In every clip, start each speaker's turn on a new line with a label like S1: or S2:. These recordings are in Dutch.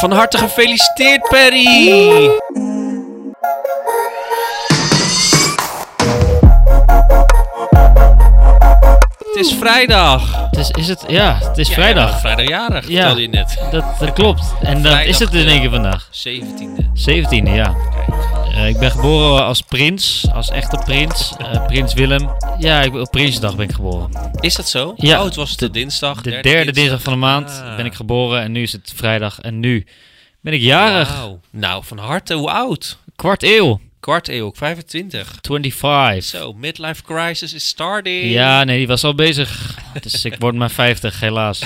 S1: Van harte gefeliciteerd, Perry! Het is vrijdag.
S2: Het is, is het, ja, het is
S1: Ja,
S2: vrijdag.
S1: vrijdagjarig,
S2: Ja.
S1: vertelde je net.
S2: Dat, dat klopt. En dan
S1: Vrijdag,
S2: is het dus in één
S1: ja.
S2: keer vandaag.
S1: 17e.
S2: 17e, ja.
S1: Kijk.
S2: Eh, ik ben geboren als prins, als echte prins. eh, prins Willem. Ja, ik, op Prinsdag ben ik geboren.
S1: Is dat zo?
S2: Ja.
S1: Oh, het was de, dinsdag.
S2: De derde dinsdag van de maand
S1: Ah.
S2: ben ik geboren en nu is het vrijdag. En nu ben ik jarig.
S1: Wauw. Nou, van harte, hoe oud?
S2: Kwart eeuw.
S1: Kwart eeuw, ook 25.
S2: 25.
S1: Zo, midlife crisis is starting.
S2: Ja, nee, die was al bezig. Dus ik word maar 50, helaas.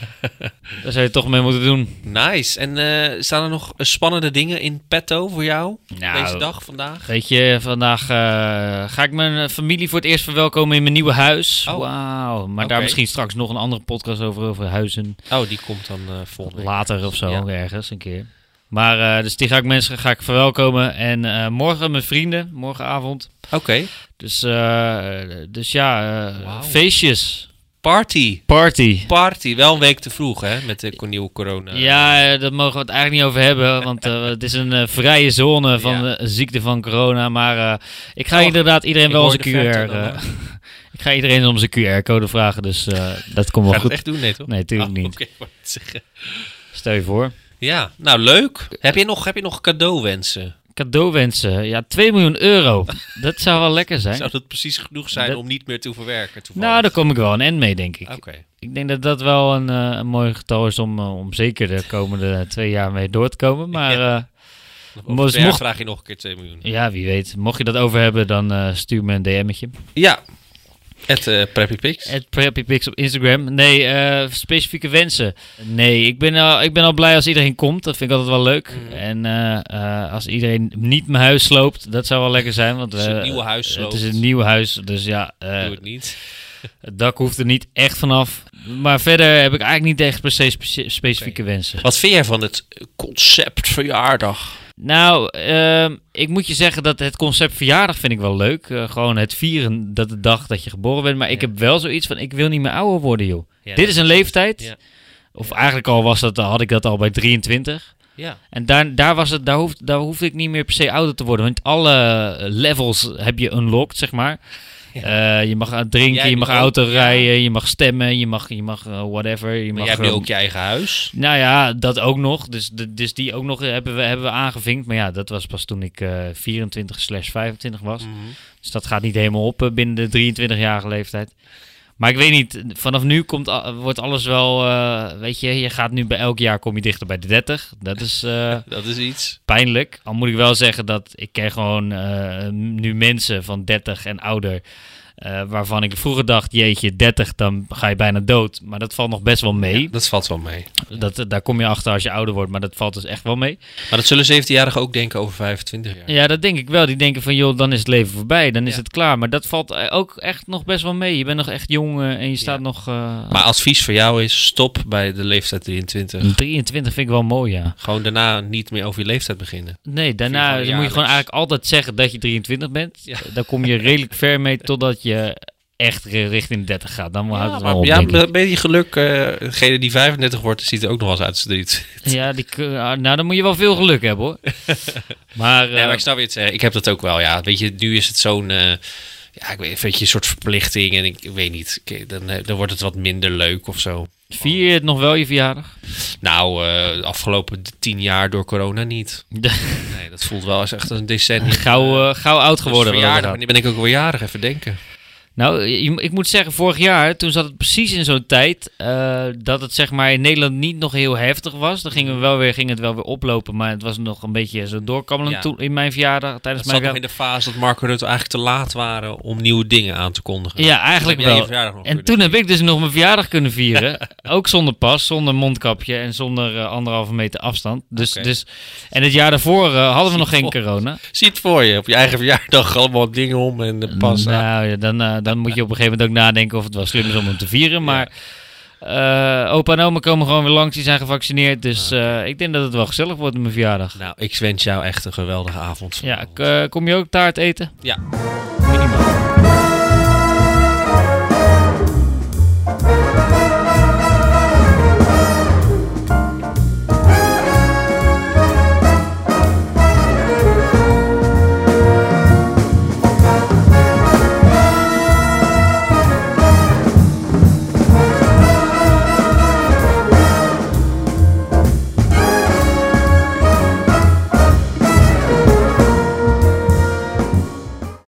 S2: Daar zou je toch mee moeten doen.
S1: Nice. En eh, staan er nog eh, spannende dingen in petto voor jou?
S2: Nou,
S1: Deze dag, vandaag?
S2: Weet je, vandaag eh, ga ik mijn familie voor het eerst verwelkomen in mijn nieuwe huis.
S1: Oh.
S2: Wauw. Maar daar
S1: Oké.
S2: misschien straks nog een andere podcast over, over huizen.
S1: Oh, die komt dan eh volgende week.
S2: Later of zo,
S1: Ja.
S2: ergens een keer. Maar eh, dus die ga ik mensen ga ik verwelkomen. En eh, morgen mijn vrienden, morgenavond.
S1: Oké.
S2: Dus, eh, dus ja, eh,
S1: Wauw.
S2: feestjes.
S1: Party.
S2: Party.
S1: Party. Wel een week te vroeg, hè? Met de nieuwe corona.
S2: Ja, eh, daar mogen we het eigenlijk niet over hebben, want eh, het is een eh, vrije zone van
S1: Ja.
S2: de ziekte van corona. Maar eh, ik ga
S1: Oh,
S2: inderdaad iedereen
S1: ik
S2: wel
S1: hoor
S2: onze QR...
S1: de verte dan,
S2: eh,
S1: hoor.
S2: ik ga iedereen om zijn QR-code vragen, dus eh, dat komt
S1: Ga je
S2: wel
S1: dat
S2: goed.
S1: echt doen? Nee, toch?
S2: Nee, tuurlijk
S1: Oh,
S2: niet.
S1: Oké, ik wou het zeggen.
S2: Stel je voor.
S1: Ja, nou leuk. Heb je nog, heb je nog cadeauwensen?
S2: Cadeauwensen. Ja, 2 miljoen euro. dat zou wel lekker zijn.
S1: Zou dat precies genoeg zijn
S2: Dat-
S1: om niet meer te hoeven werken? toevallig?
S2: Nou, daar kom ik wel een end mee, denk ik.
S1: Oké.
S2: Ik denk dat dat wel een, eh, een mooi getal is om, eh, om zeker de komende twee jaar mee door te komen. Maar eh,
S1: Over
S2: Maar
S1: twee jaar
S2: mocht-
S1: vraag je nog een keer 2 miljoen.
S2: ja, wie weet. Mocht je dat over hebben, dan eh, stuur me een DM'tje.
S1: Ja. Het eh Preppy Pics.
S2: Het Preppy Pics op Instagram. Nee, eh, specifieke wensen. Nee, ik ben, al, ik ben al blij als iedereen komt. Dat vind ik altijd wel leuk.
S1: Mhm.
S2: En eh, eh, als iedereen niet mijn huis sloopt, dat zou wel lekker zijn. Want
S1: Als je
S2: we-
S1: het nieuwe huis
S2: eh, Het
S1: sloopt,
S2: is een nieuw huis, dus ja, eh,
S1: doe het niet.
S2: het dak hoeft er niet echt vanaf. Maar verder heb ik eigenlijk niet echt per se speci- specifieke wensen.
S1: Wat vind jij van het concept verjaardag?
S2: Nou, ehm, ik moet je zeggen dat het concept verjaardag vind ik wel leuk. Eh, gewoon het vieren dat de dag dat je geboren bent. Maar ik
S1: Ja.
S2: heb wel zoiets van, ik wil niet meer ouder worden, joh.
S1: Ja,
S2: Dit
S1: dat-
S2: is een leeftijd.
S1: Ja.
S2: Of eigenlijk al was dat, had ik dat al bij 23.
S1: Ja.
S2: En daar, daar, was het, daar, hoef, daar hoefde ik niet meer per se ouder te worden. Want alle levels heb je unlocked, zeg maar. Eh, je mag eh, drinken,
S1: Jij
S2: je mag
S1: nu ook,
S2: auto
S1: ja.
S2: rijden, je mag stemmen, je mag, je mag eh, whatever. Je
S1: Maar
S2: mag,
S1: jij hebt nu
S2: eh,
S1: ook je eigen huis.
S2: Nou ja, dat ook nog. Dus, de- dus die ook nog hebben we, hebben we aangevinkt. Maar ja, dat was pas toen ik eh 24 slash 25 was.
S1: Mhm.
S2: Dus dat gaat niet helemaal op eh, binnen de 23-jarige leeftijd. Maar ik weet niet, vanaf nu komt, al- wordt alles wel, eh, weet je, je gaat nu bij elk jaar kom je dichter bij de 30. Dat is eh,
S1: Dat is iets.
S2: pijnlijk. Al moet ik wel zeggen dat ik ken gewoon eh, nu mensen van 30 en ouder, eh, waarvan ik vroeger dacht, jeetje, 30, dan ga je bijna dood. Maar dat valt nog best wel mee.
S1: Dat valt wel mee.
S2: Dat, daar kom je achter als je ouder wordt, maar dat valt dus echt wel mee.
S1: Maar dat zullen 17-jarigen ook denken over 25 jaar.
S2: Ja, dat denk ik wel. Die denken van, joh, dan is het leven voorbij, dan is
S1: Ja.
S2: het klaar. Maar dat valt eh, ook echt nog best wel mee. Je bent nog echt jong eh, en je staat
S1: Ja.
S2: nog... eh,
S1: Maar advies voor jou is stop bij de leeftijd 23.
S2: Mm. 23 vind ik wel mooi, ja.
S1: Gewoon daarna niet meer over je leeftijd beginnen.
S2: Nee,
S1: Vind
S2: daarna
S1: ik wel
S2: moet je gewoon
S1: jaarlijks.
S2: eigenlijk altijd zeggen dat je 23 bent.
S1: Ja.
S2: Daar kom je redelijk ver mee totdat je echt re- richting de 30 gaat. Dan houdt het wel op,
S1: ja,
S2: denk ik.
S1: met een beetje geluk, eh, degene die 35 wordt, ziet er ook nog wel eens uit als dit.
S2: Ja, die, kun- ah, nou, dan moet je wel veel geluk hebben, hoor. maar,
S1: Nee,
S2: eh,
S1: maar ik snap weer het zeggen. Ik heb dat ook wel, ja. Weet je, nu is het zo'n... eh, ja, ik weet weet je, een soort verplichting en ik, ik weet niet. Ik- Dan, eh, dan wordt het wat minder leuk of zo.
S2: vier je het nog wel je verjaardag?
S1: Nou, eh, de afgelopen tien jaar door corona niet. Nee, dat voelt wel als echt als een decennium.
S2: gauw, eh, gauw oud geworden. wat dat
S1: verjaardag.
S2: gaat.
S1: Wanneer ben ik ook weer jarig? Even denken.
S2: Nou, je- ik moet zeggen, vorig jaar, toen zat het precies in zo'n tijd eh, dat het zeg maar in Nederland niet nog heel heftig was. Dan
S1: Mm.
S2: gingen we wel weer, ging het wel weer oplopen, maar het was nog een beetje zo doorkabbelend
S1: Ja.
S2: toen, in mijn verjaardag, tijdens
S1: Het zat
S2: mijn
S1: nog in de fase dat Marco Rutte eigenlijk te laat waren om nieuwe dingen aan te kondigen.
S2: Ja, eigenlijk
S1: Heb jij je
S2: wel.
S1: verjaardag nog
S2: En
S1: kunnen
S2: toen heb ik dus nog mijn verjaardag kunnen vieren. ook zonder pas, zonder mondkapje en zonder eh, anderhalve meter afstand. Dus,
S1: Oké.
S2: dus, en het jaar daarvoor eh, hadden we nog geen
S1: Voor-
S2: corona.
S1: Zie het voor je, op je eigen verjaardag allemaal dingen om en eh, pas aan.
S2: Nou, ja, dan, eh, dan moet je op een gegeven moment ook nadenken of het wel slim is om hem te vieren. Maar eh, opa en oma komen gewoon weer langs, die zijn gevaccineerd. Dus eh, ik denk dat het wel gezellig wordt op mijn verjaardag.
S1: Nou, ik wens jou echt een geweldige avond.
S2: Ja, k- eh, kom je ook taart eten?
S1: Ja.